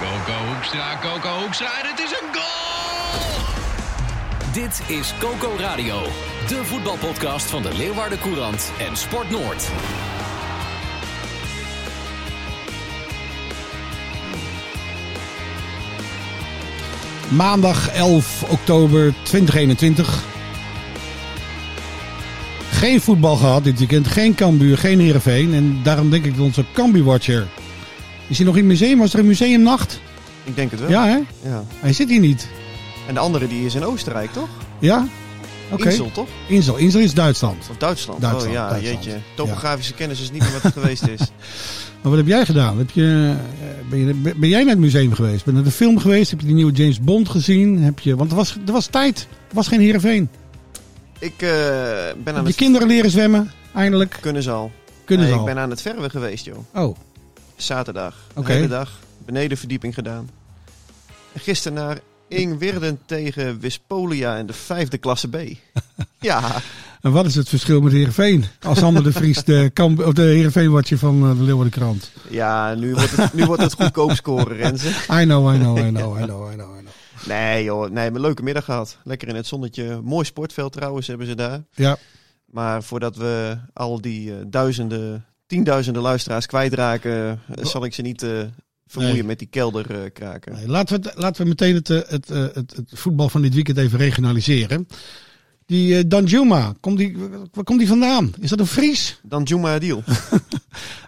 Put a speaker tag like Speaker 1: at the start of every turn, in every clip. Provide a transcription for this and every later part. Speaker 1: Coco Hoekstra, Coco Hoekstra, en het is een goal!
Speaker 2: Dit is Coco Radio, de voetbalpodcast van de Leeuwarden Courant en Sport Noord.
Speaker 3: Maandag 11 oktober 2021. Geen voetbal gehad dit weekend. Geen Cambuur, geen Heerenveen. En daarom denk ik dat onze Cambuur-watcher... Is hij nog in het museum? Was er een museumnacht?
Speaker 4: Ik denk het wel.
Speaker 3: Ja, hè?
Speaker 4: Ja.
Speaker 3: Hij zit hier niet.
Speaker 4: En de andere die is in Oostenrijk, toch?
Speaker 3: Ja? Oké.
Speaker 4: Insel, toch?
Speaker 3: Insel. Insel is Duitsland.
Speaker 4: Of Duitsland?
Speaker 3: Duitsland,
Speaker 4: oh ja,
Speaker 3: Duitsland.
Speaker 4: jeetje. Topografische kennis is niet meer wat het geweest is.
Speaker 3: Maar wat heb jij gedaan? Heb je, eh, ben, je, ben jij naar het museum geweest? Ben je naar de film geweest? Heb je die nieuwe James Bond gezien? Heb je, want er was, er was tijd. Er was geen
Speaker 4: Nou,
Speaker 3: Heerenveen.
Speaker 4: Ik eh, ben
Speaker 3: Heb
Speaker 4: aan
Speaker 3: je
Speaker 4: het...
Speaker 3: kinderen leren zwemmen? Eindelijk.
Speaker 4: Kunnen ze al.
Speaker 3: Kunnen
Speaker 4: Nee,
Speaker 3: ze al.
Speaker 4: Ik ben aan het verwe geweest, joh.
Speaker 3: Oh,
Speaker 4: Zaterdag.
Speaker 3: Oké.
Speaker 4: De hele dag. Benedenverdieping gedaan. En gisteren naar Ingwirden tegen Wispolia in de vijfde klasse B. ja,
Speaker 3: En wat is het verschil met Heerenveen? Als Sander de Vries de, kamp, of de Heerenveen-watje van eh, de Leeuwardenkrant.
Speaker 4: ja nu, wordt het, nu wordt het goedkoop scoren, Renze.
Speaker 3: I know, I know, I know, I know, I know. I know.
Speaker 4: Nee joh, nee, een leuke middag gehad. Lekker in het zonnetje. Mooi sportveld trouwens hebben ze daar.
Speaker 3: Ja,
Speaker 4: Maar voordat we al die eh, duizenden, tienduizenden luisteraars kwijtraken, eh, zal ik ze niet eh, vermoeien
Speaker 3: Nee.
Speaker 4: met die kelderkraken. kraken.
Speaker 3: nee, laten, we, het- laten we meteen het, eh, het, eh, het, het voetbal van dit weekend even regionaliseren. Die eh, Danjuma, komt die, waar komt die vandaan? Is dat een Fries?
Speaker 4: Dan Juma Adil.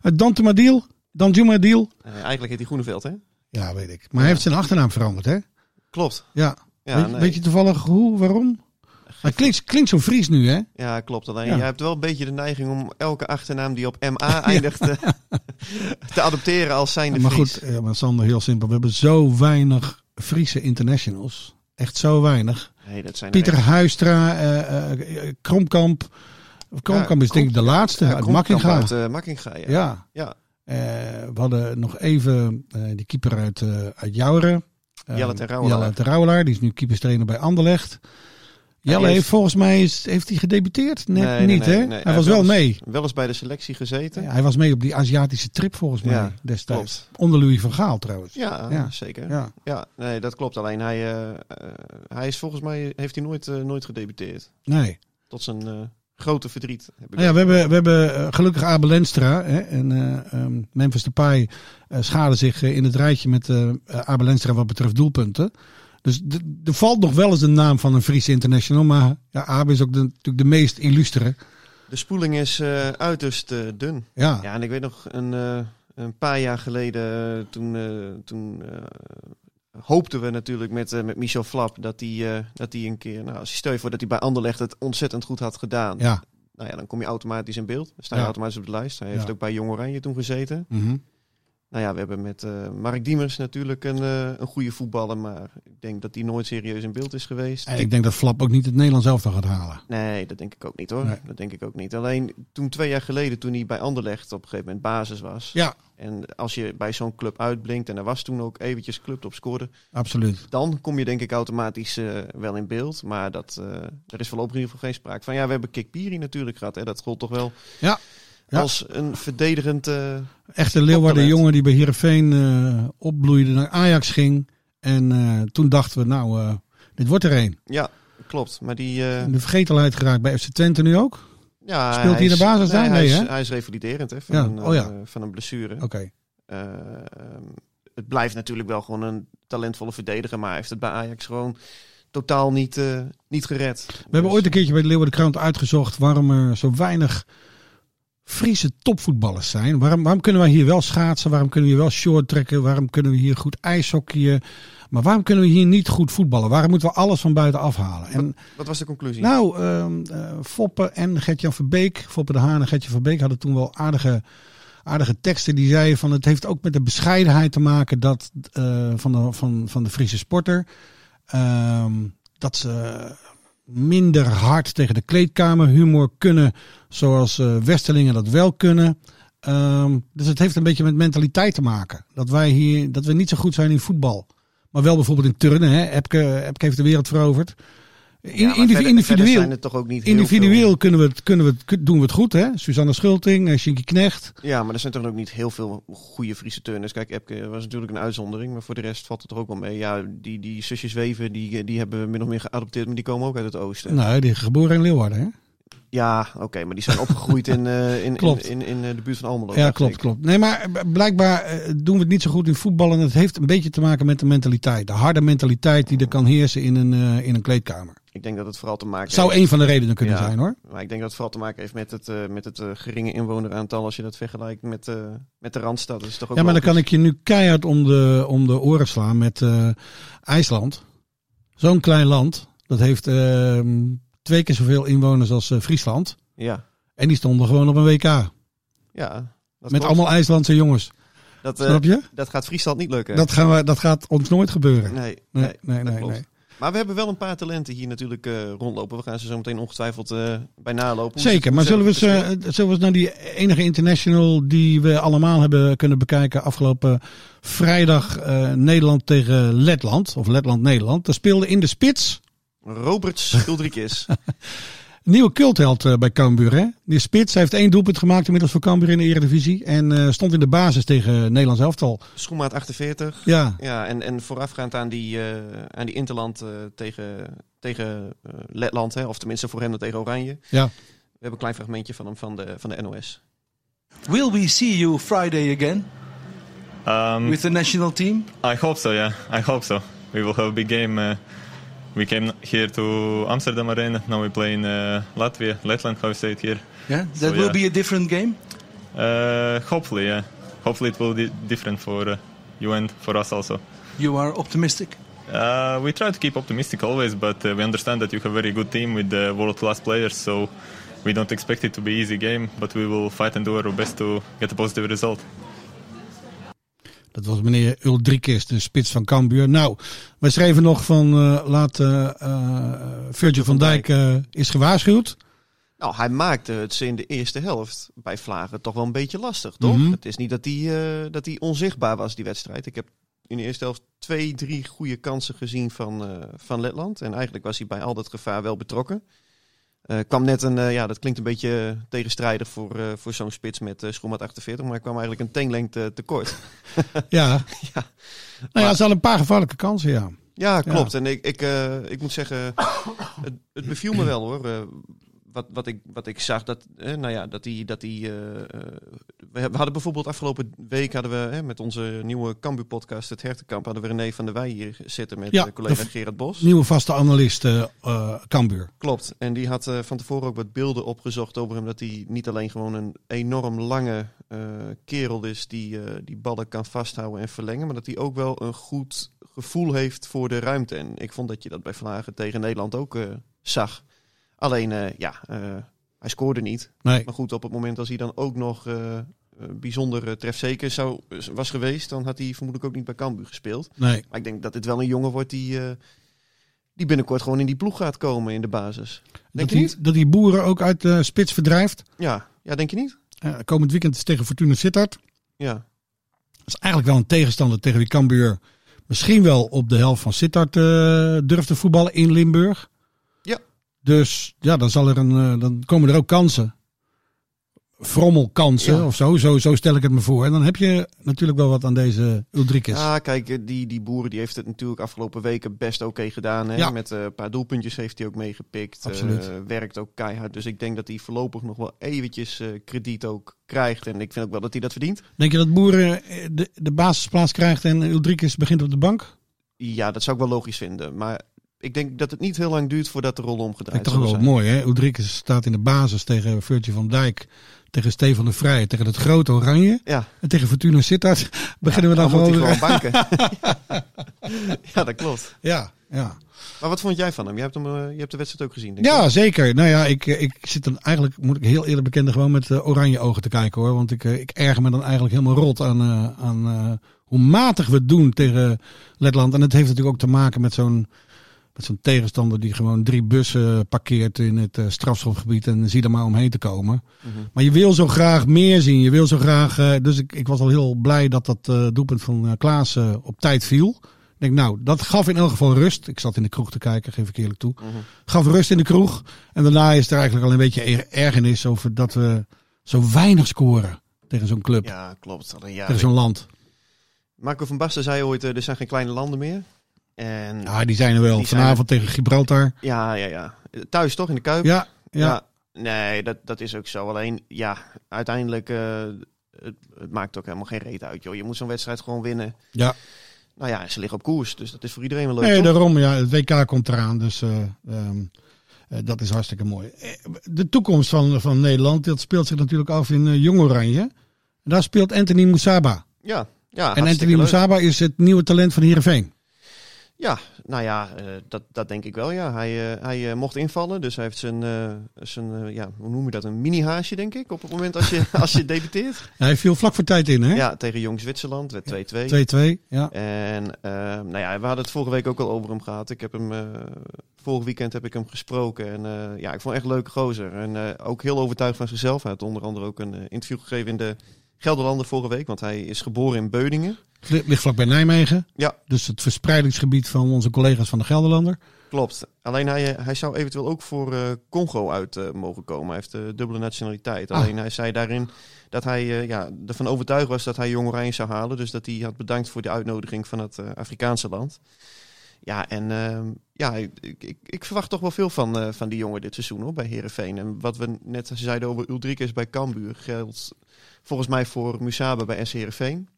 Speaker 3: Uit Dantumadil? Danjumadil?
Speaker 4: Eh, eigenlijk heet hij Groeneveld, hè?
Speaker 3: Ja, weet ik. Maar hij heeft zijn achternaam veranderd, hè?
Speaker 4: Klopt.
Speaker 3: Ja.
Speaker 4: Ja,
Speaker 3: weet,
Speaker 4: nee.
Speaker 3: weet je toevallig hoe, waarom? Hij klinkt, klinkt zo'n Fries nu, hè?
Speaker 4: ja klopt. Alleen
Speaker 3: Ja.
Speaker 4: jij hebt wel een beetje de neiging om elke achternaam die op MA eindigt eh, te adopteren als zijnde
Speaker 3: maar
Speaker 4: Fries.
Speaker 3: goed, eh, maar Sander, heel simpel. We hebben zo weinig Friese internationals. Echt zo weinig.
Speaker 4: Nee, dat zijn er
Speaker 3: Pieter
Speaker 4: echt-
Speaker 3: Huistra, eh, eh, eh, Kromkamp. Kromkamp is denk ik de laatste.
Speaker 4: Ja,
Speaker 3: uit
Speaker 4: Kronkamp
Speaker 3: Makkinga.
Speaker 4: Uit, eh, Makkinga, ja.
Speaker 3: ja.
Speaker 4: Ja.
Speaker 3: Eh, we hadden nog even eh die keeper uit, eh uit Jouren. Eh,
Speaker 4: Jelle Terouwelaar.
Speaker 3: Jelle Terouwelaar, Die is nu keeperstrainer bij Anderlecht.
Speaker 4: die
Speaker 3: Jelle heeft
Speaker 4: heeft-
Speaker 3: volgens mij is, heeft hij gedebuteerd. Net
Speaker 4: Nee, nee,
Speaker 3: niet,
Speaker 4: nee,
Speaker 3: hè?
Speaker 4: nee.
Speaker 3: hij was wel
Speaker 4: heeft
Speaker 3: mee.
Speaker 4: eens- Wel eens bij de selectie gezeten.
Speaker 3: Ja, hij was mee op die Aziatische trip volgens mij
Speaker 4: Ja,
Speaker 3: destijds.
Speaker 4: klopt.
Speaker 3: Onder Louis van Gaal trouwens.
Speaker 4: Ja,
Speaker 3: Ja.
Speaker 4: zeker.
Speaker 3: ja.
Speaker 4: Ja, nee, dat klopt. Alleen hij, eh, eh, hij is volgens mij heeft hij nooit, eh, nooit gedebuteerd.
Speaker 3: Nee.
Speaker 4: Tot zijn eh, grote verdriet. Heb ik
Speaker 3: Nou ja, we hebben, we hebben eh, gelukkig Abel Lenstra hè, en eh ehm Memphis Depay eh schaden zich eh, in het rijtje met eh eh, Abel Lenstra wat betreft doelpunten. Dus d- er valt nog wel eens de naam van een Friese international, maar ja, Abel is ook de, natuurlijk de meest illustere.
Speaker 4: De spoeling is eh, uiterst eh, dun.
Speaker 3: Ja,
Speaker 4: Ja, en ik weet nog een, eh, een paar jaar geleden eh, toen, eh, toen eh, hoopten we natuurlijk met, eh, met Michel Flap dat hij eh, dat hij een keer, nou stel je voor dat hij bij Anderlecht het ontzettend goed had gedaan.
Speaker 3: ja.
Speaker 4: Nou ja, dan kom je automatisch in beeld. Dan sta je
Speaker 3: Ja.
Speaker 4: automatisch op de lijst. Hij heeft
Speaker 3: Ja.
Speaker 4: ook bij Jong Oranje toen gezeten.
Speaker 3: Mhm.
Speaker 4: Nou ja, we hebben met eh, Mark Diemers natuurlijk een, eh, een goede voetballer, maar ik denk dat die nooit serieus in beeld is geweest.
Speaker 3: En ik denk dat Flap ook niet het Nederlands elftal gaat halen.
Speaker 4: Nee, dat denk ik ook niet hoor.
Speaker 3: Nee.
Speaker 4: Dat denk ik ook niet. Alleen toen twee jaar geleden, toen hij bij Anderlecht op een gegeven moment basis was.
Speaker 3: Ja,
Speaker 4: En als je bij zo'n club uitblinkt, en er was toen ook eventjes club op scoorde,
Speaker 3: absoluut.
Speaker 4: dan kom je denk ik automatisch eh, wel in beeld. Maar dat, eh er is voorlopig in ieder geval geen sprake van. Ja, we hebben Kikpiri natuurlijk gehad. Hè. Dat gold toch wel
Speaker 3: Ja. Ja.
Speaker 4: als een verdedigend... eh,
Speaker 3: Echte Leeuwarden
Speaker 4: Toptalent.
Speaker 3: jongen die bij Heerenveen eh, opbloeide, naar Ajax ging. En eh, toen dachten we, nou, eh, dit wordt er een.
Speaker 4: ja, klopt. Maar die... eh,
Speaker 3: In de vergetelheid geraakt bij FC Twente nu ook.
Speaker 4: Ja,
Speaker 3: Speelt hij in de
Speaker 4: is-
Speaker 3: basis daar?
Speaker 4: hij,
Speaker 3: Nee,
Speaker 4: is,
Speaker 3: hè?
Speaker 4: hij is revaliderend hè, van,
Speaker 3: Ja,
Speaker 4: een, eh,
Speaker 3: oh ja.
Speaker 4: van een blessure.
Speaker 3: Oké.
Speaker 4: Eh, ehm, het blijft natuurlijk wel gewoon een talentvolle verdediger, maar hij heeft het bij Ajax gewoon totaal niet, eh, niet gered. Dus
Speaker 3: We hebben ooit een keertje bij de Leeuwarden Krant uitgezocht waarom er zo weinig Friese topvoetballers zijn. Waarom, waarom kunnen wij hier wel schaatsen? Waarom kunnen we hier wel short trekken? Waarom kunnen we hier goed ijshockeyen? Maar waarom kunnen we hier niet goed voetballen? Waarom moeten we alles van buiten afhalen? En
Speaker 4: Wat was de conclusie?
Speaker 3: nou, ehm eh, Foppe en Gertjan Verbeek, Foppe de Haan en Gertjan Verbeek hadden toen wel aardige aardige teksten die zeiden van het heeft ook met de bescheidenheid te maken dat, eh, van, de, van, van de Friese sporter. Ehm, dat ze minder hard tegen de kleedkamerhumor kunnen, zoals eh, Westerlingen dat wel kunnen. Ehm, dus het heeft een beetje met mentaliteit te maken. Dat wij hier dat we niet zo goed zijn in voetbal. Maar wel bijvoorbeeld in turnen. Hè. Epke, Epke heeft de wereld veroverd. In,
Speaker 4: Ja,
Speaker 3: indivi-
Speaker 4: maar verder- verder
Speaker 3: individueel
Speaker 4: zijn er toch ook niet heel
Speaker 3: individueel kunnen we het, kunnen we het, kun- doen we het goed. Hè? Suzanne Schulting, eh, Shinky Knecht.
Speaker 4: veel- ja, maar er zijn toch ook niet heel veel goede Friese turners. Kijk, Epke was natuurlijk een uitzondering, maar voor de rest valt het er ook wel mee. Ja, die, die zusjes Weven, die, die hebben we min of meer geadopteerd, maar die komen ook uit het oosten.
Speaker 3: Nou, die is geboren in Leeuwarden. Hè?
Speaker 4: Ja, oké, maar die zijn opgegroeid in, eh, in, in,
Speaker 3: Klopt.
Speaker 4: in, in, eh, de buurt van Almelo.
Speaker 3: Ja,
Speaker 4: dacht
Speaker 3: klopt,
Speaker 4: ik.
Speaker 3: klopt. Nee, maar eh, blijkbaar eh, doen we het niet zo goed in voetbal. En het heeft een beetje te maken met de mentaliteit. De harde mentaliteit die er kan heersen in een, eh, in een kleedkamer.
Speaker 4: Ik denk dat het vooral te maken
Speaker 3: Zou
Speaker 4: heeft...
Speaker 3: een van de redenen kunnen
Speaker 4: Ja.
Speaker 3: zijn hoor.
Speaker 4: Maar ik denk dat het vooral te maken heeft met het, eh, met het eh, geringe inwoneraantal als je dat vergelijkt met, eh, met de Randstad. Dat is toch ook
Speaker 3: Ja, maar dan kan
Speaker 4: logisch.
Speaker 3: ik je nu keihard om de, om de oren slaan met eh, IJsland. Zo'n klein land. Dat heeft eh, twee keer zoveel inwoners als eh, Friesland.
Speaker 4: Ja,
Speaker 3: En die stonden gewoon op een WK.
Speaker 4: ja. dat
Speaker 3: met
Speaker 4: klopt.
Speaker 3: allemaal IJslandse jongens.
Speaker 4: Dat, eh,
Speaker 3: Snap je?
Speaker 4: dat gaat Friesland niet lukken.
Speaker 3: Dat, gaan we, dat gaat ons nooit gebeuren.
Speaker 4: Nee, nee.
Speaker 3: Nee, nee,
Speaker 4: dat
Speaker 3: nee.
Speaker 4: klopt.
Speaker 3: nee.
Speaker 4: Maar we hebben wel een paar talenten hier natuurlijk eh, rondlopen. We gaan ze zo meteen ongetwijfeld eh, bij nalopen. Hoe ze-
Speaker 3: Zeker,
Speaker 4: hoe
Speaker 3: maar
Speaker 4: ze-
Speaker 3: zullen we, eens, eh, zullen we eens naar die enige international die we allemaal hebben kunnen bekijken afgelopen vrijdag eh, Nederland tegen Letland, of Letland-Nederland. Daar speelde in de spits
Speaker 4: Robert Schuldrikis.
Speaker 3: nieuwe cultheld eh, bij Cambuur. Hè? Die spits heeft één doelpunt gemaakt inmiddels voor Cambuur in de Eredivisie en eh, stond in de basis tegen Nederlands elftal.
Speaker 4: Schoenmaat 48.
Speaker 3: Ja,
Speaker 4: Ja, en, en voorafgaand aan die, eh, aan die Interland eh, tegen, tegen eh, Letland, hè, of tenminste voor hem dan tegen Oranje.
Speaker 3: Ja.
Speaker 4: We hebben een klein fragmentje van hem van de, van de NOS.
Speaker 5: Will we see you Friday again
Speaker 6: Um,
Speaker 5: with the national team?
Speaker 6: I hope so. Yeah, I hope so. We will have a big game. Uh, we came here to Amsterdam Arena. Now we play in uh, Latvia, Letland. How you say it here?
Speaker 5: Yeah, that
Speaker 6: So,
Speaker 5: will
Speaker 6: yeah.
Speaker 5: be a different game.
Speaker 6: Uh, hopefully, yeah. Hopefully it will be different for uh, you and for us also.
Speaker 5: You are optimistic.
Speaker 6: Uh, we try to keep optimistic always, but uh, we understand that you have a very good team with uh, world-class players. So we don't expect it to be easy game, but we will fight and do our best to get a positive result.
Speaker 3: Dat was meneer Uldrikis, de spits van Cambuur. Nou, wij schreven nog van eh, laat eh, eh, Virgil van Dijk eh, is gewaarschuwd.
Speaker 4: Nou, hij maakte het ze in de eerste helft bij Vlagen toch wel een beetje lastig, toch?
Speaker 3: Mhm.
Speaker 4: Het is niet dat hij, eh, dat hij onzichtbaar was, die wedstrijd. Ik heb in de eerste helft twee, drie goede kansen gezien van, eh, van Letland. En eigenlijk was hij bij al dat gevaar wel betrokken. Eh kwam net een, eh, ja, dat klinkt een beetje tegenstrijdig voor, eh, voor zo'n spits met eh schoenmaat 48, maar hij kwam eigenlijk een teenlengte tekort.
Speaker 3: Ja. Nou ja, ze hadden een paar gevaarlijke kansen, ja.
Speaker 4: Ja, klopt. En ik, ik, eh, ik moet zeggen, het, het beviel me wel hoor. Eh, wat, wat, ik, wat ik zag, dat, eh, nou ja, dat die... Dat die eh, eh, we hebben- we hadden bijvoorbeeld afgelopen week hadden we, hè, met onze nieuwe Cambu-podcast, het Hertenkamp, hadden we René van der Wij hier zitten met
Speaker 3: Ja,
Speaker 4: eh, collega
Speaker 3: dat-
Speaker 4: Gerard Bos.
Speaker 3: Nieuwe vaste analist eh eh, Cambuur.
Speaker 4: Klopt. En die had eh, van tevoren ook wat beelden opgezocht over hem. Dat hij niet alleen gewoon een enorm lange eh, kerel is die, eh, die ballen kan vasthouden en verlengen. Maar dat hij ook wel een goed gevoel heeft voor de ruimte. En ik vond dat je dat bij Vlagen tegen Nederland ook eh, zag. Alleen, eh, ja, eh, hij scoorde niet.
Speaker 3: Nee,
Speaker 4: Maar goed, op het moment als hij dan ook nog eh, eh, bijzonder eh, trefzeker zou, was geweest... dan had hij vermoedelijk ook niet bij Cambuur gespeeld.
Speaker 3: nee.
Speaker 4: Maar ik denk dat dit wel een jongen wordt die, eh, die binnenkort gewoon in die ploeg gaat komen in de basis. Denk
Speaker 3: Dat
Speaker 4: je
Speaker 3: die,
Speaker 4: niet?
Speaker 3: dat die boeren ook uit de spits verdrijft.
Speaker 4: Ja. ja, denk je niet?
Speaker 3: Eh, komend weekend is tegen Fortuna Sittard.
Speaker 4: Ja.
Speaker 3: Dat is eigenlijk wel een tegenstander tegen wie Cambuur misschien wel op de helft van Sittard eh, durft te voetballen in Limburg.
Speaker 4: Ja.
Speaker 3: Dus ja, dan, zal er een, eh, dan komen er ook kansen. Frommelkansen
Speaker 4: Ja.
Speaker 3: of zo, zo. Zo stel ik het me voor. En dan heb je natuurlijk wel wat aan deze Ulrikes.
Speaker 4: Ja, kijk, eh, die, die boeren die heeft het natuurlijk afgelopen weken best oké gedaan. Hè?
Speaker 3: Ja.
Speaker 4: Met eh, een paar doelpuntjes heeft hij ook meegepikt. eh,
Speaker 3: Absoluut.
Speaker 4: werkt ook keihard. Dus ik denk dat hij voorlopig nog wel eventjes eh, krediet ook krijgt. En ik vind ook wel dat hij dat verdient.
Speaker 3: Denk je dat Boeren eh, de, de basisplaats krijgt en Ulrikes begint op de bank?
Speaker 4: Ja, dat zou ik wel logisch vinden. Maar ik denk dat het niet heel lang duurt voordat de rol
Speaker 3: Dat vind
Speaker 4: omgedraaid
Speaker 3: ik toch
Speaker 4: zal
Speaker 3: wel
Speaker 4: zijn.
Speaker 3: mooi, hè? Ulrikes staat in de basis tegen Virgil van Dijk, tegen Stefan de Vrij, tegen het grote Oranje.
Speaker 4: Ja,
Speaker 3: En tegen Fortuna Sittard beginnen we dan
Speaker 4: dan moet
Speaker 3: gewoon...
Speaker 4: hij gewoon banken. ja, dat klopt.
Speaker 3: Ja, Ja.
Speaker 4: Maar wat vond jij van hem? Je hebt, hem, eh, je hebt de wedstrijd ook gezien, denk ik.
Speaker 3: Ja, zeker. Nou ja, ik, eh, ik zit dan eigenlijk, moet ik heel eerlijk bekennen, gewoon met eh, oranje ogen te kijken hoor. Want ik, eh, ik erger me dan eigenlijk helemaal rot aan, eh, aan eh, hoe matig we het doen tegen Letland. En het heeft natuurlijk ook te maken met zo'n met zo'n tegenstander die gewoon drie bussen parkeert in het eh, strafschopgebied en zie er maar omheen te komen.
Speaker 4: Mhm.
Speaker 3: Maar je wil zo graag meer zien. Je wil zo graag. eh, dus ik, ik was al heel blij dat dat eh, doelpunt van eh, Klaas eh, op tijd viel. Ik denk, nou, dat gaf in elk geval rust. Ik zat in de kroeg te kijken, geef ik eerlijk toe.
Speaker 4: Mhm.
Speaker 3: Gaf rust in de kroeg. En daarna is er eigenlijk al een beetje er- ergernis over dat we zo weinig scoren tegen zo'n club,
Speaker 4: Ja, klopt. Al een jaar.
Speaker 3: tegen zo'n land.
Speaker 4: Marco van Basten zei ooit, eh, er zijn geen kleine landen meer. En ja,
Speaker 3: Ja, Ah, die zijn er wel.
Speaker 4: Die zijn
Speaker 3: Vanavond tegen Gibraltar.
Speaker 4: ja, ja. Thuis toch, in de Kuip?
Speaker 3: Ja, ja.
Speaker 4: Nee, dat, dat is ook zo. Alleen, ja, uiteindelijk, eh, het, het maakt ook helemaal geen reet uit, joh. Je moet zo'n wedstrijd gewoon winnen.
Speaker 3: ja.
Speaker 4: Nou ja, ze liggen op koers, dus dat is voor iedereen wel leuk,
Speaker 3: Nee,
Speaker 4: toch?
Speaker 3: daarom. Ja, het WK komt eraan. Dus eh, ehm, eh, dat is hartstikke mooi. Eh, De toekomst van, van Nederland, dat speelt zich natuurlijk af in eh, Jong Oranje. En daar speelt Anthony Moussaba.
Speaker 4: Ja, ja
Speaker 3: en
Speaker 4: Ah, hartstikke
Speaker 3: Anthony
Speaker 4: leuk.
Speaker 3: Moussaba is het nieuwe talent van Heerenveen.
Speaker 4: Ja, nou ja, eh, dat, dat denk ik wel, ja. Hij, eh, hij eh, mocht invallen, dus hij heeft zijn, eh, zijn eh, ja, hoe noem je dat, een mini-haasje, denk ik, op het moment als je, als je debuteert.
Speaker 3: Hij viel vlak voor tijd in, hè?
Speaker 4: Ja, tegen Jong Zwitserland, werd 2-2.
Speaker 3: 2-2, ja.
Speaker 4: En eh, nou ja, we hadden het vorige week ook al over hem gehad. Ik heb hem, eh, vorig weekend heb ik hem gesproken. En eh, ja, ik vond hem echt een leuke gozer. En eh, ook heel overtuigd van zichzelf. Hij had onder andere ook een eh, interview gegeven in de Gelderlander vorige week. Want hij is geboren in Beuningen.
Speaker 3: Ligt ligt vlak bij Nijmegen.
Speaker 4: Ja.
Speaker 3: Dus het verspreidingsgebied van onze collega's van de Gelderlander.
Speaker 4: Klopt. Alleen hij, eh, hij zou eventueel ook voor eh, Congo uit eh, mogen komen. Hij heeft eh, dubbele nationaliteit.
Speaker 3: Ah.
Speaker 4: Alleen hij zei daarin dat hij eh, ja, ervan overtuigd was dat hij Jong Oranje zou halen. Dus dat hij had bedankt voor de uitnodiging van het eh, Afrikaanse land. Ja, en ehm, ja, ik, ik, ik verwacht toch wel veel van, eh, van die jongen dit seizoen hoor, bij Herenveen. En wat we net zeiden over Uldrikus bij Cambuur geldt volgens mij voor Musaba bij S. Herenveen.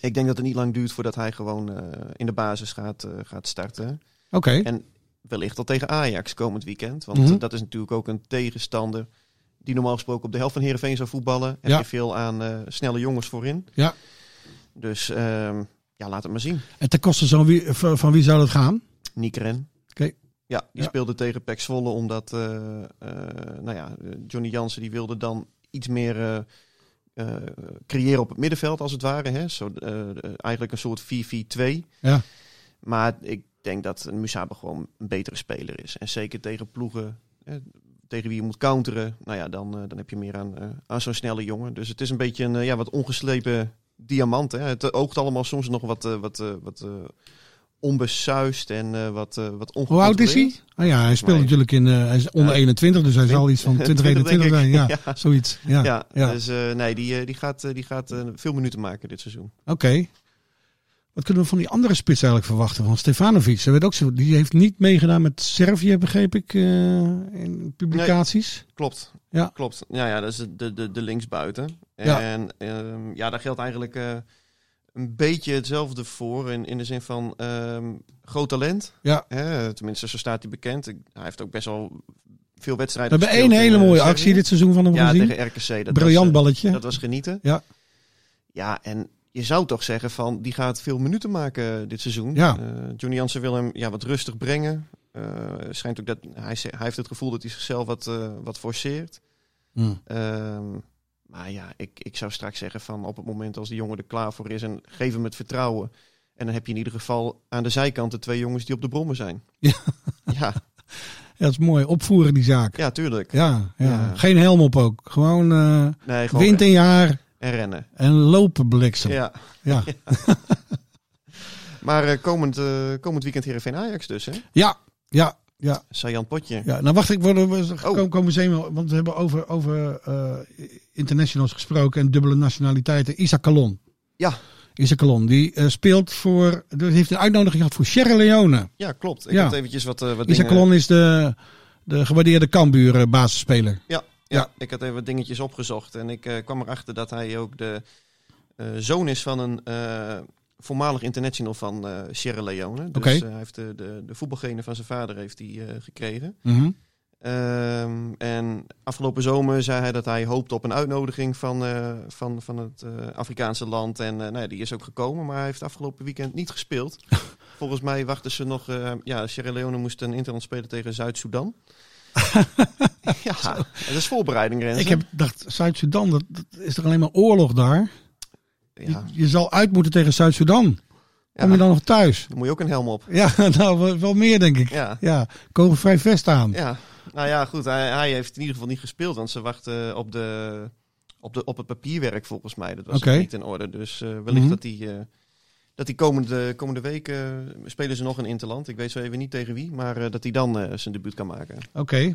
Speaker 4: Ik denk dat het niet lang duurt voordat hij gewoon eh, in de basis gaat, eh, gaat starten
Speaker 3: Oké.
Speaker 4: En- wellicht al tegen Ajax komend weekend. Want
Speaker 3: Mhm.
Speaker 4: eh, dat is natuurlijk ook een tegenstander die normaal gesproken op de helft van Heerenveen zou voetballen. En
Speaker 3: Ja.
Speaker 4: je veel aan eh, snelle jongens voorin.
Speaker 3: Ja.
Speaker 4: Dus ehm, ja, laat het maar zien.
Speaker 3: En ten koste van wie, van van wie zou dat gaan?
Speaker 4: Niekeren.
Speaker 3: Oké.
Speaker 4: Ja, die
Speaker 3: Ja.
Speaker 4: speelde tegen Pek Zwolle omdat eh, eh, nou ja, eh, Johnny Jansen die wilde dan iets meer eh, eh, creëren op het middenveld als het ware. Hè? Zo, eh, eh, eigenlijk een soort 4-4-2.
Speaker 3: Ja.
Speaker 4: Maar ik denk dat Musaba gewoon een betere speler is. En zeker tegen ploegen hè, tegen wie je moet counteren. Nou ja, dan, eh, dan heb je meer aan, eh, aan zo'n snelle jongen. Dus het is een beetje een eh, ja, wat ongeslepen diamant. Hè? Het oogt allemaal soms nog wat, eh, wat, eh, wat eh, onbesuist en eh, wat, eh wat
Speaker 3: Hoe oud is hij? Ah ja, hij speelt
Speaker 4: Nee.
Speaker 3: natuurlijk in... eh, hij is onder
Speaker 4: Ja.
Speaker 3: 21, dus hij zal iets van 20,
Speaker 4: 20, denk
Speaker 3: 21 zijn.
Speaker 4: ik.
Speaker 3: Ja, zoiets. Ja,
Speaker 4: Ja,
Speaker 3: ja.
Speaker 4: dus eh, nee, die, eh, die gaat, eh, die gaat eh, veel minuten maken dit seizoen.
Speaker 3: Oké. Wat kunnen we van die andere spits eigenlijk verwachten? Van Stefanovic. Hij werd ook zo, die heeft niet meegedaan met Servië, begreep ik, eh, in publicaties.
Speaker 4: Klopt.
Speaker 3: Ja.
Speaker 4: Klopt. Ja, ja, dat is de, de, de linksbuiten.
Speaker 3: Ja.
Speaker 4: En ehm, ja, daar geldt eigenlijk eh, een beetje hetzelfde voor. In, in de zin van ehm, groot talent.
Speaker 3: Ja.
Speaker 4: Hè, tenminste, zo staat hij bekend. Ik- hij heeft ook best wel veel
Speaker 3: We
Speaker 4: wedstrijden
Speaker 3: hebben één
Speaker 4: gespeeld in,
Speaker 3: hele
Speaker 4: eh,
Speaker 3: mooie
Speaker 4: Servië.
Speaker 3: actie dit seizoen van hem
Speaker 4: Ja,
Speaker 3: gezien.
Speaker 4: tegen RKC. Dat was,
Speaker 3: Briljant
Speaker 4: eh,
Speaker 3: balletje.
Speaker 4: dat was genieten.
Speaker 3: Ja.
Speaker 4: Ja, en je zou toch zeggen van, die gaat veel minuten maken dit seizoen.
Speaker 3: Ja.
Speaker 4: Eh, Johnny Jansen wil hem ja, wat rustig brengen. Eh, schijnt ook dat hij, ze- hij heeft het gevoel dat hij zichzelf wat, eh, wat forceert.
Speaker 3: Hm.
Speaker 4: Ehm, maar ja, ik, ik zou straks zeggen van op het moment als die jongen er klaar voor is en geef hem het vertrouwen. En dan heb je in ieder geval aan de zijkant de twee jongens die op de brommen zijn.
Speaker 3: Ja.
Speaker 4: ja,
Speaker 3: Ja, dat is mooi. Opvoeren die zaak.
Speaker 4: ja tuurlijk.
Speaker 3: Ja, ja.
Speaker 4: Ja.
Speaker 3: geen helm op ook. Gewoon, eh,
Speaker 4: Nee, gewoon
Speaker 3: wind in je haar
Speaker 4: en rennen.
Speaker 3: en lopen bliksem. Ja.
Speaker 4: Ja.
Speaker 3: Ja.
Speaker 4: Maar eh, komend, eh, komend weekend Heerenveen Ajax dus, hè?
Speaker 3: ja, ja,
Speaker 4: Sajan Potje.
Speaker 3: Nou wacht, ik worden we
Speaker 4: Oh.
Speaker 3: komen, komen zenuwen, want we hebben over, over eh, internationals gesproken en dubbele nationaliteiten. Isaac Calon.
Speaker 4: Ja.
Speaker 3: Isaac Calon, die eh, speelt voor, die heeft een uitnodiging gehad voor Sierra Leone.
Speaker 4: Ja, klopt. Ik
Speaker 3: Ja.
Speaker 4: had eventjes wat, eh, wat
Speaker 3: Isaac
Speaker 4: dingen...
Speaker 3: Calon is de, de gewaardeerde Cambuur eh, basisspeler.
Speaker 4: Ja,
Speaker 3: Ja.
Speaker 4: ik had even wat dingetjes opgezocht. En ik eh, kwam erachter dat hij ook de eh, zoon is van een eh, voormalig international van eh, Sierra Leone. Dus
Speaker 3: Oké.
Speaker 4: eh, hij heeft de, de, de voetbalgenen van zijn vader heeft hij, eh, gekregen.
Speaker 3: Mhm.
Speaker 4: Ehm, en afgelopen zomer zei hij dat hij hoopte op een uitnodiging van, eh, van, van het eh, Afrikaanse land. En eh, nou ja, die is ook gekomen, maar hij heeft afgelopen weekend niet gespeeld. Volgens mij wachten ze nog. eh, ja, Sierra Leone moest een interland spelen tegen Zuid-Soedan. ja, dat is voorbereiding. Renze.
Speaker 3: Ik heb dacht, Zuid-Soedan, dat, dat is er alleen maar oorlog daar.
Speaker 4: ja,
Speaker 3: Je, je zal uit moeten tegen Zuid-Soedan. Kom je
Speaker 4: Ja.
Speaker 3: dan nog thuis?
Speaker 4: dan moet je ook een helm op.
Speaker 3: Ja, nou, wel- wel meer denk ik.
Speaker 4: Ja.
Speaker 3: Ja, kogelvrij vest aan.
Speaker 4: Ja, nou ja, goed. Hij, hij heeft in ieder geval niet gespeeld, want ze wachten op, de, op, de, op het papierwerk volgens mij. Dat was
Speaker 3: Oké.
Speaker 4: niet in orde. Dus eh, wellicht
Speaker 3: Mhm.
Speaker 4: dat die, eh, dat die komende, komende week eh, spelen ze nog een Interland. Ik weet zo even niet tegen wie, maar eh, dat hij dan eh, zijn debuut kan maken.
Speaker 3: Oké.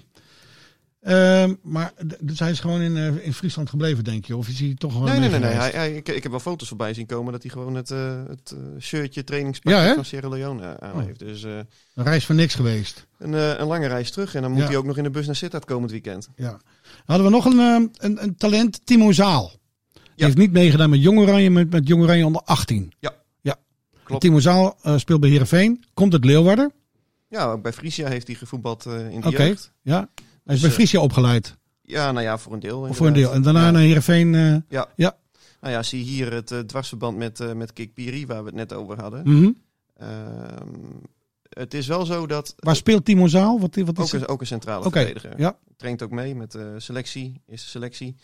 Speaker 3: Ehm, maar d- dus hij is gewoon in, eh, in Friesland gebleven, denk je? Of is hij toch gewoon
Speaker 4: Nee, nee, nee. nee.
Speaker 3: meegereisd?
Speaker 4: Hij, hij- ik, ik heb wel foto's voorbij zien komen dat hij gewoon het, eh, het eh, shirtje trainingspak
Speaker 3: Ja, hè?
Speaker 4: van Sierra Leone aan
Speaker 3: Oh.
Speaker 4: heeft. Dus eh,
Speaker 3: Een reis voor niks geweest.
Speaker 4: een, eh, een lange reis terug. En dan moet
Speaker 3: Ja.
Speaker 4: hij ook nog in de bus naar Sittard komend weekend.
Speaker 3: Ja. Hadden we nog een, ehm, een, een talent, Timo Zaal. Die
Speaker 4: Ja.
Speaker 3: heeft niet meegedaan met Jong Oranje, maar met Jong Oranje onder 18.
Speaker 4: Ja.
Speaker 3: ja.
Speaker 4: Klopt.
Speaker 3: Timo Zaal eh, speelt bij Heerenveen, komt uit Leeuwarden.
Speaker 4: Ja, ook bij Frisia heeft hij gevoetbald eh, in de
Speaker 3: Oké.
Speaker 4: jeugd.
Speaker 3: Ja. Hij is
Speaker 4: Dus,
Speaker 3: bij
Speaker 4: eh,
Speaker 3: Friesia opgeleid,
Speaker 4: Ja, nou ja, voor een deel.
Speaker 3: of voor een deel. En
Speaker 4: inderdaad.
Speaker 3: daarna
Speaker 4: Ja.
Speaker 3: naar Heerenveen. eh
Speaker 4: Ja.
Speaker 3: Ja.
Speaker 4: Nou ja, zie hier het eh, dwarsverband met, eh met Kik Piri, waar we het net over hadden.
Speaker 3: mhm.
Speaker 4: Ehm, het is wel zo dat...
Speaker 3: Waar speelt Timo Zaal? Wat, wat
Speaker 4: ook,
Speaker 3: is het?
Speaker 4: een, ook een centrale
Speaker 3: Oké,
Speaker 4: verdediger.
Speaker 3: ja.
Speaker 4: Traint ook mee met de selectie, is de selectie.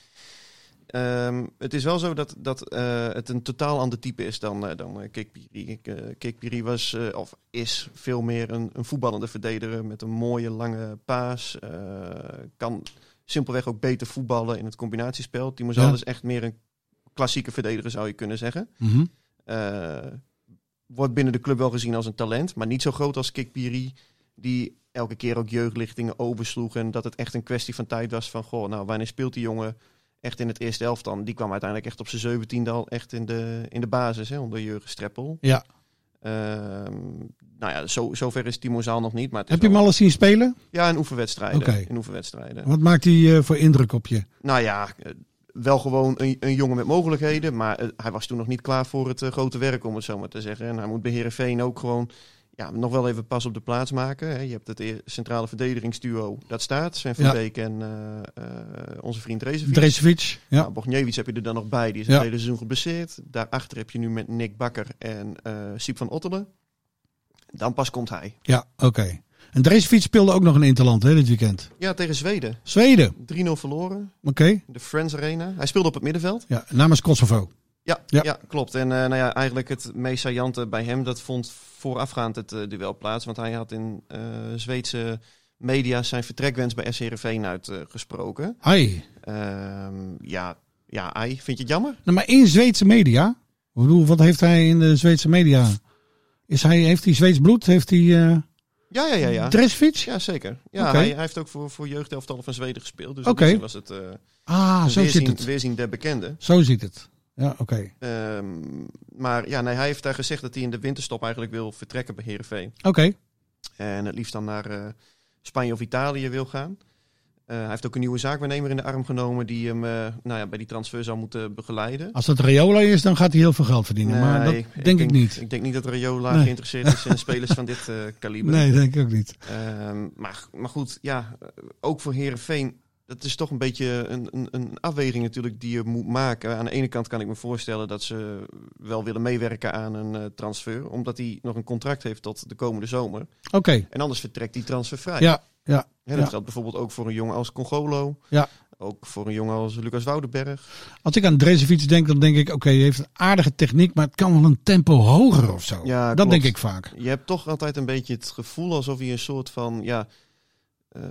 Speaker 4: Ehm, het is wel zo dat, dat eh, het een totaal ander type is dan, eh, dan eh, Kik Piri. Eh, Kik Piri was, eh, of is veel meer een, een voetballende verdediger met een mooie lange paas. eh, kan simpelweg ook beter voetballen in het combinatiespel. Timo Zal
Speaker 3: Ja.
Speaker 4: is echt meer een klassieke verdediger, zou je kunnen zeggen.
Speaker 3: Mhm.
Speaker 4: Eh, wordt binnen de club wel gezien als een talent, maar niet zo groot als Kik Piri, die elke keer ook jeugdlichtingen oversloeg en dat het echt een kwestie van tijd was van, goh, nou, wanneer speelt die jongen echt in het eerste elft dan? Die kwam uiteindelijk echt op zijn zeventiende al echt in de, in de basis, hè, onder Jurgen Streppel.
Speaker 3: Ja.
Speaker 4: Ehm, nou ja, zo, zover is Timo Zaal nog niet, maar het is
Speaker 3: Heb je hem
Speaker 4: wel-
Speaker 3: al eens zien spelen?
Speaker 4: Ja, in oefenwedstrijden.
Speaker 3: Oké.
Speaker 4: In oefenwedstrijden.
Speaker 3: Wat maakt hij eh, voor indruk op je?
Speaker 4: Nou ja, eh, wel gewoon een, een jongen met mogelijkheden. Maar eh, hij was toen nog niet klaar voor het eh, grote werk, om het zo maar te zeggen. En hij moet bij Herenveen ook gewoon ja, nog wel even pas op de plaats maken. Hè. Je hebt het eer- centrale verdedigingsduo, dat staat. Sven van
Speaker 3: Ja.
Speaker 4: Beek en eh, eh, onze vriend Rezevic.
Speaker 3: Dresevic? Ja.
Speaker 4: Nou, Bogniewicz heb je er dan nog bij. Die is
Speaker 3: Ja.
Speaker 4: het hele seizoen geblesseerd. Daarachter heb je nu met Nick Bakker en eh Siep van Ottelen. Dan pas komt hij.
Speaker 3: Ja, oké. En Dreesfiets speelde ook nog een Interland hè, dit weekend.
Speaker 4: Ja, tegen Zweden.
Speaker 3: Zweden,
Speaker 4: 3-0 verloren.
Speaker 3: oké.
Speaker 4: De Friends Arena. Hij speelde op het middenveld.
Speaker 3: Ja, namens Kosovo.
Speaker 4: Ja,
Speaker 3: Ja.
Speaker 4: ja. klopt. En eh, nou ja, eigenlijk het meest saillante bij hem, dat vond voorafgaand het eh, duel plaats. Want hij had in eh, Zweedse media zijn vertrekwens bij SC Heerenveen uitgesproken.
Speaker 3: Hai.
Speaker 4: Ehm, ja, ja, ai, vind je het jammer?
Speaker 3: Nou, maar in Zweedse media? Ik bedoel, wat heeft hij in de Zweedse media? Is hij, heeft hij Zweeds bloed? Heeft hij eh
Speaker 4: Ja, ja, ja. ja.
Speaker 3: Dreesfiets?
Speaker 4: Ja, zeker. Ja,
Speaker 3: Oké.
Speaker 4: hij, hij heeft ook voor, voor jeugdelftallen van Zweden gespeeld. Dus in
Speaker 3: Oké.
Speaker 4: die zin was het eh
Speaker 3: Ah, zo zit
Speaker 4: weerzien,
Speaker 3: het.
Speaker 4: weerzien der bekende.
Speaker 3: Zo zit het. Ja, oké.
Speaker 4: Ehm, maar ja, nee, hij heeft daar gezegd dat hij in de winterstop eigenlijk wil vertrekken bij Heerenveen.
Speaker 3: Oké.
Speaker 4: En het liefst dan naar eh, Spanje of Italië wil gaan. Eh, hij heeft ook een nieuwe zaakwaarnemer in de arm genomen die hem eh, nou ja, bij die transfer zou moeten begeleiden.
Speaker 3: Als dat Reola is, dan gaat hij heel veel geld verdienen. maar dat
Speaker 4: Nee,
Speaker 3: denk ik, niet.
Speaker 4: Ik denk niet dat Rayola
Speaker 3: Nee.
Speaker 4: geïnteresseerd is in spelers van dit eh, kaliber.
Speaker 3: Nee, denk ik ook niet.
Speaker 4: Ehm, maar, maar goed, ja, eh, ook voor Herenveen. Dat is toch een beetje een, een, een afweging natuurlijk die je moet maken. Aan de ene kant kan ik me voorstellen dat ze wel willen meewerken aan een eh, transfer. Omdat hij nog een contract heeft tot de komende zomer.
Speaker 3: Oké.
Speaker 4: En anders vertrekt hij transfervrij.
Speaker 3: Ja, ja.
Speaker 4: Hè, dat
Speaker 3: Ja.
Speaker 4: geldt bijvoorbeeld ook voor een jongen als Congolo.
Speaker 3: Ja.
Speaker 4: Ook voor een jongen als Lucas Woudenberg.
Speaker 3: Als ik aan Dresevic denk, dan denk ik, oké, hij heeft een aardige techniek, maar het kan wel een tempo hoger of zo.
Speaker 4: Ja,
Speaker 3: dat
Speaker 4: klopt.
Speaker 3: denk ik vaak.
Speaker 4: Je hebt toch altijd een beetje het gevoel alsof hij een soort van ja, eh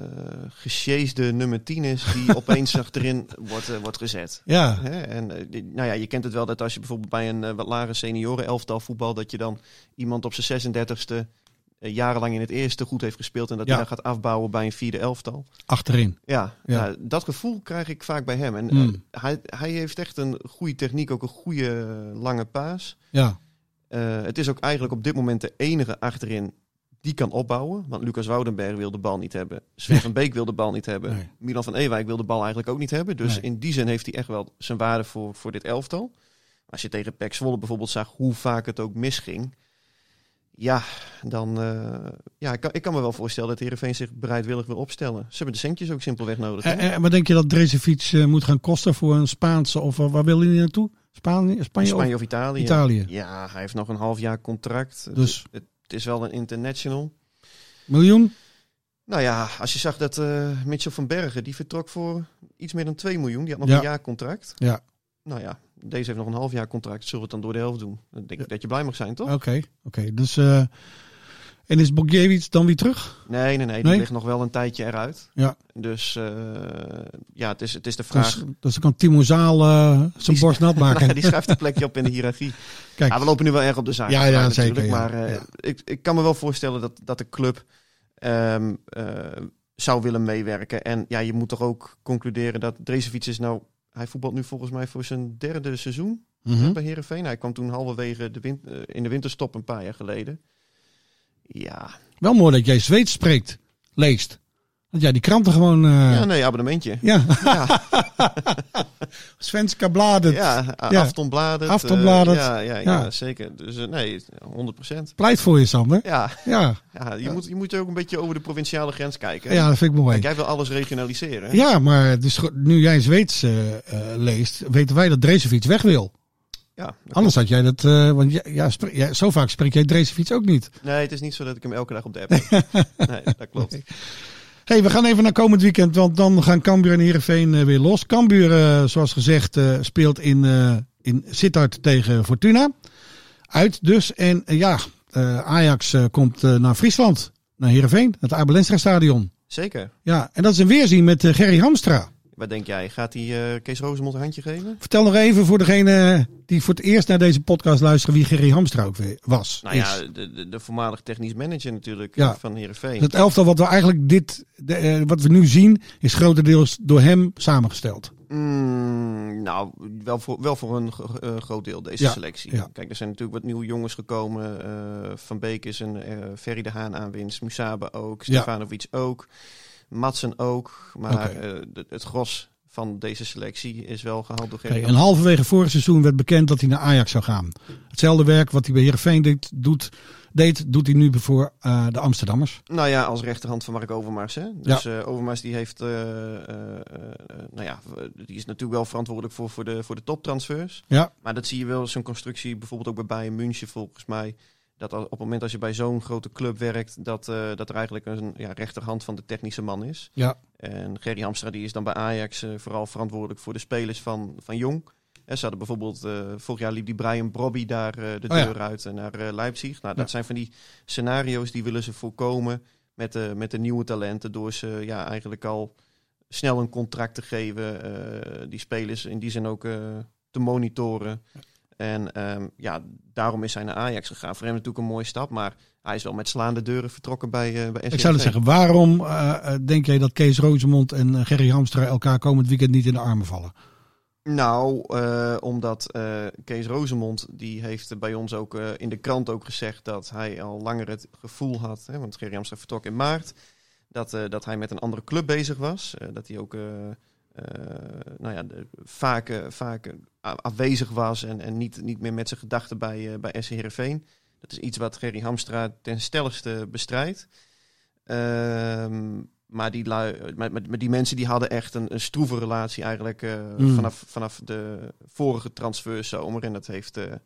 Speaker 4: gesjeesde nummer 10 is. Die opeens achterin wordt, eh, wordt gezet.
Speaker 3: Ja,
Speaker 4: Hè? En eh, die- nou ja, je kent het wel dat als je bijvoorbeeld bij een eh, wat lagere senioren elftal voetbal, dat je dan iemand op zijn 36e eh, jarenlang in het eerste goed heeft gespeeld en dat
Speaker 3: Ja.
Speaker 4: hij dan gaat afbouwen bij een vierde elftal.
Speaker 3: achterin.
Speaker 4: Ja,
Speaker 3: Ja.
Speaker 4: nou, dat gevoel krijg ik vaak bij hem. En eh,
Speaker 3: Mm.
Speaker 4: hij, hij heeft echt een goede techniek, ook een goede eh, lange paas.
Speaker 3: Ja,
Speaker 4: Eh, het is ook eigenlijk op dit moment de enige achterin die kan opbouwen. Want Lucas Woudenberg wil de bal niet hebben. Sven van Beek wil de bal niet hebben.
Speaker 3: Nee.
Speaker 4: Milan van Ewijk wil de bal eigenlijk ook niet hebben. Dus
Speaker 3: Nee.
Speaker 4: in die zin heeft hij echt wel zijn waarde voor, voor dit elftal. Als je tegen Pek Zwolle bijvoorbeeld zag hoe vaak het ook misging. Ja, dan, eh, ja ik, kan, ik kan me wel voorstellen dat Heerenveen zich bereidwillig wil opstellen. Ze hebben de centjes ook simpelweg nodig. hè?
Speaker 3: En, en wat denk je dat Dresevic eh, moet gaan kosten voor een Spaanse of eh, waar wil hij naartoe? Spaan, Spanje,
Speaker 4: Spanje
Speaker 3: of
Speaker 4: of Italië.
Speaker 3: Italië?
Speaker 4: Ja, hij heeft nog een half jaar contract.
Speaker 3: Dus-
Speaker 4: Het- Het is wel een international.
Speaker 3: Miljoen?
Speaker 4: Nou ja, als je zag dat eh Mitchell van Bergen, die vertrok voor iets meer dan 2 miljoen. Die had nog
Speaker 3: Ja.
Speaker 4: een jaar contract.
Speaker 3: Ja.
Speaker 4: Nou ja, deze heeft nog een half jaar contract. Zullen we het dan door de helft doen? Dan denk ik
Speaker 3: Ja.
Speaker 4: dat je blij mag zijn, toch?
Speaker 3: Oké, oké. Dus, eh, en is Bogjevic dan weer terug?
Speaker 4: Nee, nee, nee. Die
Speaker 3: Nee?
Speaker 4: ligt nog wel een tijdje eruit.
Speaker 3: Ja.
Speaker 4: Dus eh, ja, het is, het is de vraag.
Speaker 3: Dus, dus dan kan Timo Zaal eh, zijn
Speaker 4: Die-
Speaker 3: borst nat
Speaker 4: Nou,
Speaker 3: maken.
Speaker 4: die schuift een plekje op in de hiërarchie.
Speaker 3: Kijk.
Speaker 4: Ja, we lopen nu wel erg op de zaak.
Speaker 3: Ja, ja, zeker, ja.
Speaker 4: Maar eh,
Speaker 3: Ja.
Speaker 4: Ik, ik kan me wel voorstellen dat, dat de club ehm, eh, zou willen meewerken. En ja, je moet toch ook concluderen dat Drezefiets is nou... Hij voetbalt nu volgens mij voor zijn derde seizoen
Speaker 3: Mhm.
Speaker 4: bij Herenveen. Hij kwam toen halverwege de win- eh, in de winterstop een paar jaar geleden. Ja,
Speaker 3: Wel mooi dat jij Zweeds spreekt, leest. Want ja, die kranten gewoon... eh,
Speaker 4: ja
Speaker 3: ja,
Speaker 4: nee, abonnementje.
Speaker 3: ja. Svenska bladen.
Speaker 4: Ja,
Speaker 3: Ja.
Speaker 4: ja. aftonbladert. eh,
Speaker 3: Aftonbladert.
Speaker 4: ja, ja, ja,
Speaker 3: Ja.
Speaker 4: zeker. Dus eh, nee, 100 procent.
Speaker 3: Pleit voor je, Sander.
Speaker 4: Ja,
Speaker 3: Ja,
Speaker 4: ja, je, Moet, je moet ook een beetje over de provinciale grens kijken.
Speaker 3: ja dat vind ik mooi.
Speaker 4: Kijk, jij wil alles regionaliseren. hè?
Speaker 3: Ja, maar dus, go- nu jij Zweeds eh, eh, leest, weten wij dat Drezefiets weg wil.
Speaker 4: Ja, dat klopt.
Speaker 3: Anders had jij dat, eh, want ja, ja, spre- ja, zo vaak spreek jij Drezefiets ook niet.
Speaker 4: Nee, het is niet zo dat ik hem elke dag op de app heb. nee, dat klopt.
Speaker 3: hey, we gaan even naar komend weekend, want dan gaan Cambuur en Heerenveen eh, weer los. Cambuur, eh, zoals gezegd, eh, speelt in, eh, in Sittard tegen Fortuna. Uit dus. En eh, ja, eh, Ajax eh, komt eh, naar Friesland, naar Heerenveen, het Abelensra stadion.
Speaker 4: Zeker.
Speaker 3: E Ja, en dat is een weerzien met eh, Gerry Hamstra.
Speaker 4: Wat denk jij? Gaat hij eh, Kees Rosemond een handje geven?
Speaker 3: Vertel nog even voor degene die voor het eerst naar deze podcast luisteren wie Gerry Hamstra ook weer was.
Speaker 4: Nou
Speaker 3: is.
Speaker 4: ja, de, de, de voormalig technisch manager natuurlijk
Speaker 3: Ja.
Speaker 4: eh, van Heerenveen.
Speaker 3: Het elftal wat we eigenlijk dit, de, eh, wat we nu zien, is grotendeels door hem samengesteld.
Speaker 4: Mm, nou, wel voor, wel voor een gro- eh, groot deel deze
Speaker 3: Ja,
Speaker 4: selectie.
Speaker 3: ja.
Speaker 4: Kijk, er zijn natuurlijk wat nieuwe jongens gekomen. eh, Van Beek is een eh, Ferry de Haan aanwinst. Musaba ook.
Speaker 3: Ja.
Speaker 4: Stefanovic ook. Madsen ook. Maar
Speaker 3: Oké.
Speaker 4: eh, de- het gros van deze selectie is wel gehaald door
Speaker 3: Oké,
Speaker 4: Gerry
Speaker 3: en halverwege vorig seizoen werd bekend dat hij naar Ajax zou gaan. Hetzelfde werk wat hij bij Heerenveen deed, doet, deed, doet hij nu voor eh, de Amsterdammers.
Speaker 4: Nou ja, als rechterhand van Mark Overmars. Hè? Dus eh, Overmars die heeft, eh, eh, eh, nou ja, die is natuurlijk wel verantwoordelijk voor, voor, de, voor de toptransfers.
Speaker 3: Ja.
Speaker 4: Maar dat zie je wel, zo'n constructie bijvoorbeeld ook bij Bayern München volgens mij. Dat al- op het moment als je bij zo'n grote club werkt, dat, eh, dat er eigenlijk een ja, rechterhand van de technische man is.
Speaker 3: Ja.
Speaker 4: En Gerry Hamstra die is dan bij Ajax eh, vooral verantwoordelijk voor de spelers van, van Jong. En ze hadden bijvoorbeeld, eh, vorig jaar liep die Brian Brobby daar eh, de
Speaker 3: Oh ja.
Speaker 4: deur uit eh, naar eh, Leipzig. Nou, dat
Speaker 3: Ja.
Speaker 4: zijn van die scenario's die willen ze voorkomen met de, met de nieuwe talenten. Door ze ja, eigenlijk al snel een contract te geven. eh, die spelers in die zin ook eh, te monitoren. En ehm, ja, daarom is hij naar Ajax gegaan. Voor hem natuurlijk een mooie stap, maar hij is wel met slaande deuren vertrokken bij, eh bij
Speaker 3: Ik zou dat
Speaker 4: SCRV.
Speaker 3: zeggen, waarom eh, eh, denk jij dat Kees Rozemond en eh, Gerry Hamstra elkaar komend weekend niet in de armen vallen?
Speaker 4: Nou, eh, omdat eh, Kees Rozemond, die heeft bij ons ook eh, in de krant ook gezegd dat hij al langer het gevoel had, hè, want Gerry Amstra vertrok in maart, dat, eh, dat hij met een andere club bezig was. Eh, dat hij ook eh, eh, nou ja, de- vaak, eh, vaak eh, a- afwezig was en, en niet, niet meer met zijn gedachten bij, eh bij SC Heerenveen. Dat is iets wat Gerry Hamstra ten stelligste bestrijdt. Ehm, maar die, lui, eh, maar, maar- maar die mensen die hadden echt een, een stroeve relatie eigenlijk eh,
Speaker 3: Mm.
Speaker 4: vanaf, vanaf de vorige transferzomer. En dat heeft eh, eh,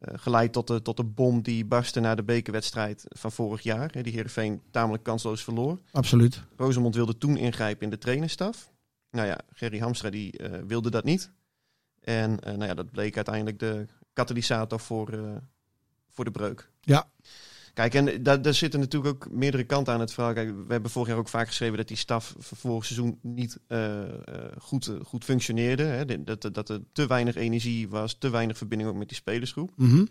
Speaker 4: geleid tot de, tot de bom die barstte na de bekerwedstrijd van vorig jaar. Hè, die Heerenveen tamelijk kansloos verloor.
Speaker 3: Absoluut.
Speaker 4: Rosemond wilde toen ingrijpen in de trainerstaf. Nou ja, Gerry Hamstra die, eh, wilde dat niet. En eh, nou ja, dat bleek uiteindelijk de katalysator voor, eh, voor de breuk.
Speaker 3: Ja.
Speaker 4: Kijk, en eh, daar, daar zitten natuurlijk ook meerdere kanten aan het verhaal. Kijk, we hebben vorig jaar ook vaak geschreven dat die staf voor vorig seizoen niet eh, eh, goed, eh, goed functioneerde. Hè? Dat- Dat, dat er te weinig energie was, te weinig verbinding ook met die spelersgroep.
Speaker 3: Mhm.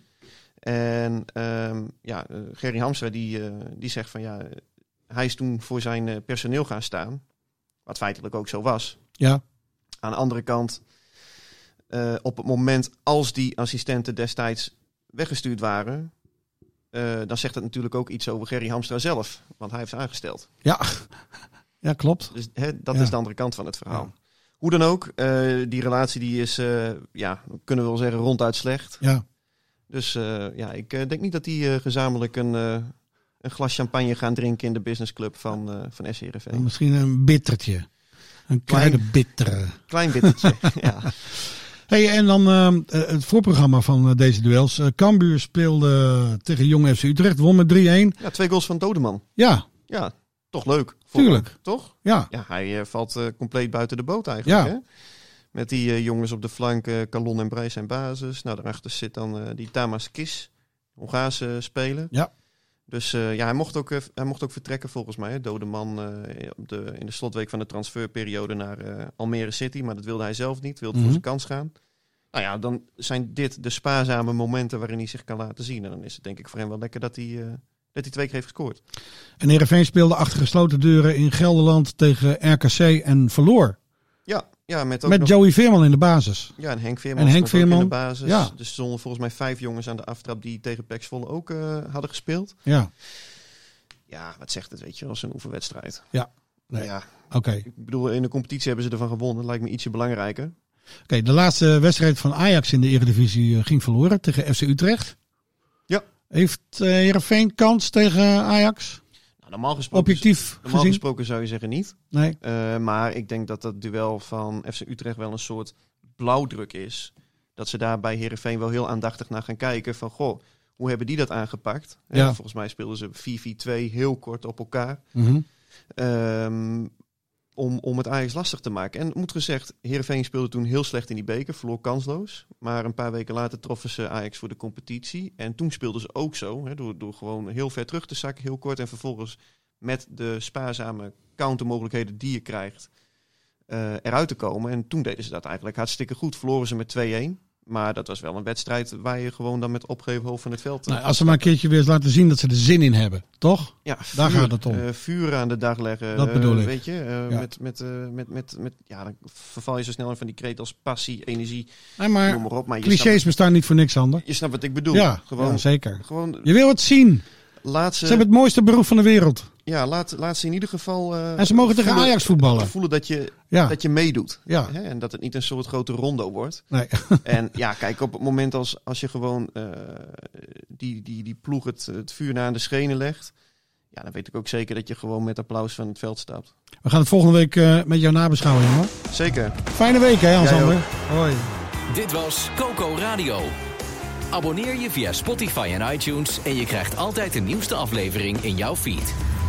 Speaker 4: En ehm, ja, eh, Gerry Hamstra die, eh, die zegt van ja, eh, hij is toen voor zijn eh, personeel gaan staan. Wat feitelijk ook zo was.
Speaker 3: Ja,
Speaker 4: Aan de andere kant, eh, op het moment als die assistenten destijds weggestuurd waren, eh, dan zegt dat natuurlijk ook iets over Gerry Hamstra zelf. Want hij heeft ze aangesteld.
Speaker 3: ja. ja klopt.
Speaker 4: Dus hè, dat
Speaker 3: Ja.
Speaker 4: is de andere kant van het verhaal.
Speaker 3: Ja.
Speaker 4: Hoe dan ook, eh, die relatie die is, eh, ja, kunnen we wel zeggen, ronduit slecht.
Speaker 3: Ja.
Speaker 4: Dus eh, ja, ik eh, denk niet dat die eh, gezamenlijk een, eh, een glas champagne gaan drinken in de businessclub van, eh van SCRV.
Speaker 3: Misschien een bittertje. Een
Speaker 4: Klein.
Speaker 3: kleine bittere.
Speaker 4: Klein bittertje. ja.
Speaker 3: Hey, en dan ehm, eh, het voorprogramma van eh, deze duels. Eh, Cambuur speelde tegen Jong FC Utrecht, won met 3-1.
Speaker 4: Ja, twee goals van Dodeman.
Speaker 3: Ja,
Speaker 4: Ja, toch leuk.
Speaker 3: Tuurlijk.
Speaker 4: Toch?
Speaker 3: ja.
Speaker 4: Ja, hij eh, valt eh, compleet buiten de boot eigenlijk.
Speaker 3: Ja.
Speaker 4: Hè? Met die eh, jongens op de flank, eh Calon en Breij zijn basis. Nou, daarachter zit dan eh, die Tamas Kis, Hongaarse speler.
Speaker 3: Ja.
Speaker 4: Dus eh, ja, hij mocht, ook, eh, hij mocht ook vertrekken volgens mij. Hè? Dode man eh, op de, in de slotweek van de transferperiode naar eh, Almere City. Maar dat wilde hij zelf niet, wilde
Speaker 3: Mhm.
Speaker 4: voor zijn kans gaan. Nou ja, dan zijn dit de spaarzame momenten waarin hij zich kan laten zien. En dan is het denk ik voor hem wel lekker dat hij, eh, dat hij twee keer heeft gescoord.
Speaker 3: En Heerenveen speelde achter gesloten deuren in Gelderland tegen RKC en verloor.
Speaker 4: Ja, ja met ook
Speaker 3: Met
Speaker 4: nog-
Speaker 3: Joey Veerman in de basis.
Speaker 4: Ja, en Henk Veerman
Speaker 3: En Henk
Speaker 4: stond ook
Speaker 3: Veerman,
Speaker 4: in de basis.
Speaker 3: ja.
Speaker 4: Dus er stonden volgens mij vijf jongens aan de aftrap die tegen Pax Volle ook eh, hadden gespeeld.
Speaker 3: Ja,
Speaker 4: Ja, wat zegt het, weet je, als een oefenwedstrijd.
Speaker 3: Ja. Nee.
Speaker 4: Ja,
Speaker 3: oké.
Speaker 4: ik bedoel, in de competitie hebben ze ervan gewonnen. Dat lijkt me ietsje belangrijker.
Speaker 3: Oké, de laatste wedstrijd van Ajax in de Eredivisie eh, ging verloren tegen FC Utrecht.
Speaker 4: Ja.
Speaker 3: Heeft eh, Heerenveen kans tegen Ajax?
Speaker 4: Nou, normaal gesproken,
Speaker 3: Objectief
Speaker 4: normaal
Speaker 3: gezien?
Speaker 4: gesproken zou je zeggen niet.
Speaker 3: Nee.
Speaker 4: Eh, maar ik denk dat dat duel van FC Utrecht wel een soort blauwdruk is. Dat ze daar bij Herenveen wel heel aandachtig naar gaan kijken. Van goh, hoe hebben die dat aangepakt? Eh,
Speaker 3: Ja.
Speaker 4: Volgens mij speelden ze 4-4-2 heel kort op elkaar.
Speaker 3: Mhm.
Speaker 4: Ehm, om, om het Ajax lastig te maken. En moet gezegd, Heerenveen speelde toen heel slecht in die beker, verloor kansloos. Maar een paar weken later troffen ze Ajax voor de competitie. En toen speelden ze ook zo, hè, door, door gewoon heel ver terug te zakken, heel kort. En vervolgens met de spaarzame countermogelijkheden die je krijgt, eh, eruit te komen. En toen deden ze dat eigenlijk hartstikke goed. Verloren ze met 2-1. Maar dat was wel een wedstrijd waar je gewoon dan met opgeheven hoofd van het veld... eh,
Speaker 3: Nou, als ze maar een keertje weer eens laten zien dat ze er zin in hebben, toch?
Speaker 4: ja,
Speaker 3: Daar
Speaker 4: vuur,
Speaker 3: gaat het om.
Speaker 4: eh, vuur aan de dag leggen.
Speaker 3: Dat
Speaker 4: eh,
Speaker 3: bedoel ik.
Speaker 4: Weet je, eh,
Speaker 3: Ja.
Speaker 4: met, met, eh, met, met, met, ja, dan verval je zo snel in van die kreet als passie, energie,
Speaker 3: Nee,
Speaker 4: noem
Speaker 3: maar
Speaker 4: maar op. Maar je
Speaker 3: clichés
Speaker 4: snapt,
Speaker 3: bestaan niet voor niks, Sander.
Speaker 4: je snapt wat ik bedoel.
Speaker 3: Ja,
Speaker 4: gewoon, Eh.
Speaker 3: ja, zeker.
Speaker 4: gewoon
Speaker 3: Je wil het zien.
Speaker 4: laat
Speaker 3: Ze
Speaker 4: ze,
Speaker 3: hebben het mooiste beroep van de wereld.
Speaker 4: ja, laat, laat ze in ieder geval... eh,
Speaker 3: En ze mogen tegen
Speaker 4: voelen-
Speaker 3: Ajax voetballen.
Speaker 4: Voelen dat je,
Speaker 3: Ja,
Speaker 4: dat je meedoet.
Speaker 3: ja.
Speaker 4: Hè? En dat het niet een soort grote rondo wordt.
Speaker 3: Nee.
Speaker 4: En ja, kijk, op het moment als, als je gewoon eh, die, die, die ploeg het, het vuur naar aan de schenen legt. Ja, dan weet ik ook zeker dat je gewoon met applaus van het veld stapt.
Speaker 3: We gaan het volgende week eh, met jou nabeschouwen, jongen.
Speaker 4: Zeker.
Speaker 3: Fijne week, hè,
Speaker 4: Jij
Speaker 3: Hans-Ander?
Speaker 4: ook.
Speaker 3: Hoi.
Speaker 2: Dit was Coco Radio. Abonneer je via Spotify en iTunes en je krijgt altijd de nieuwste aflevering in jouw feed.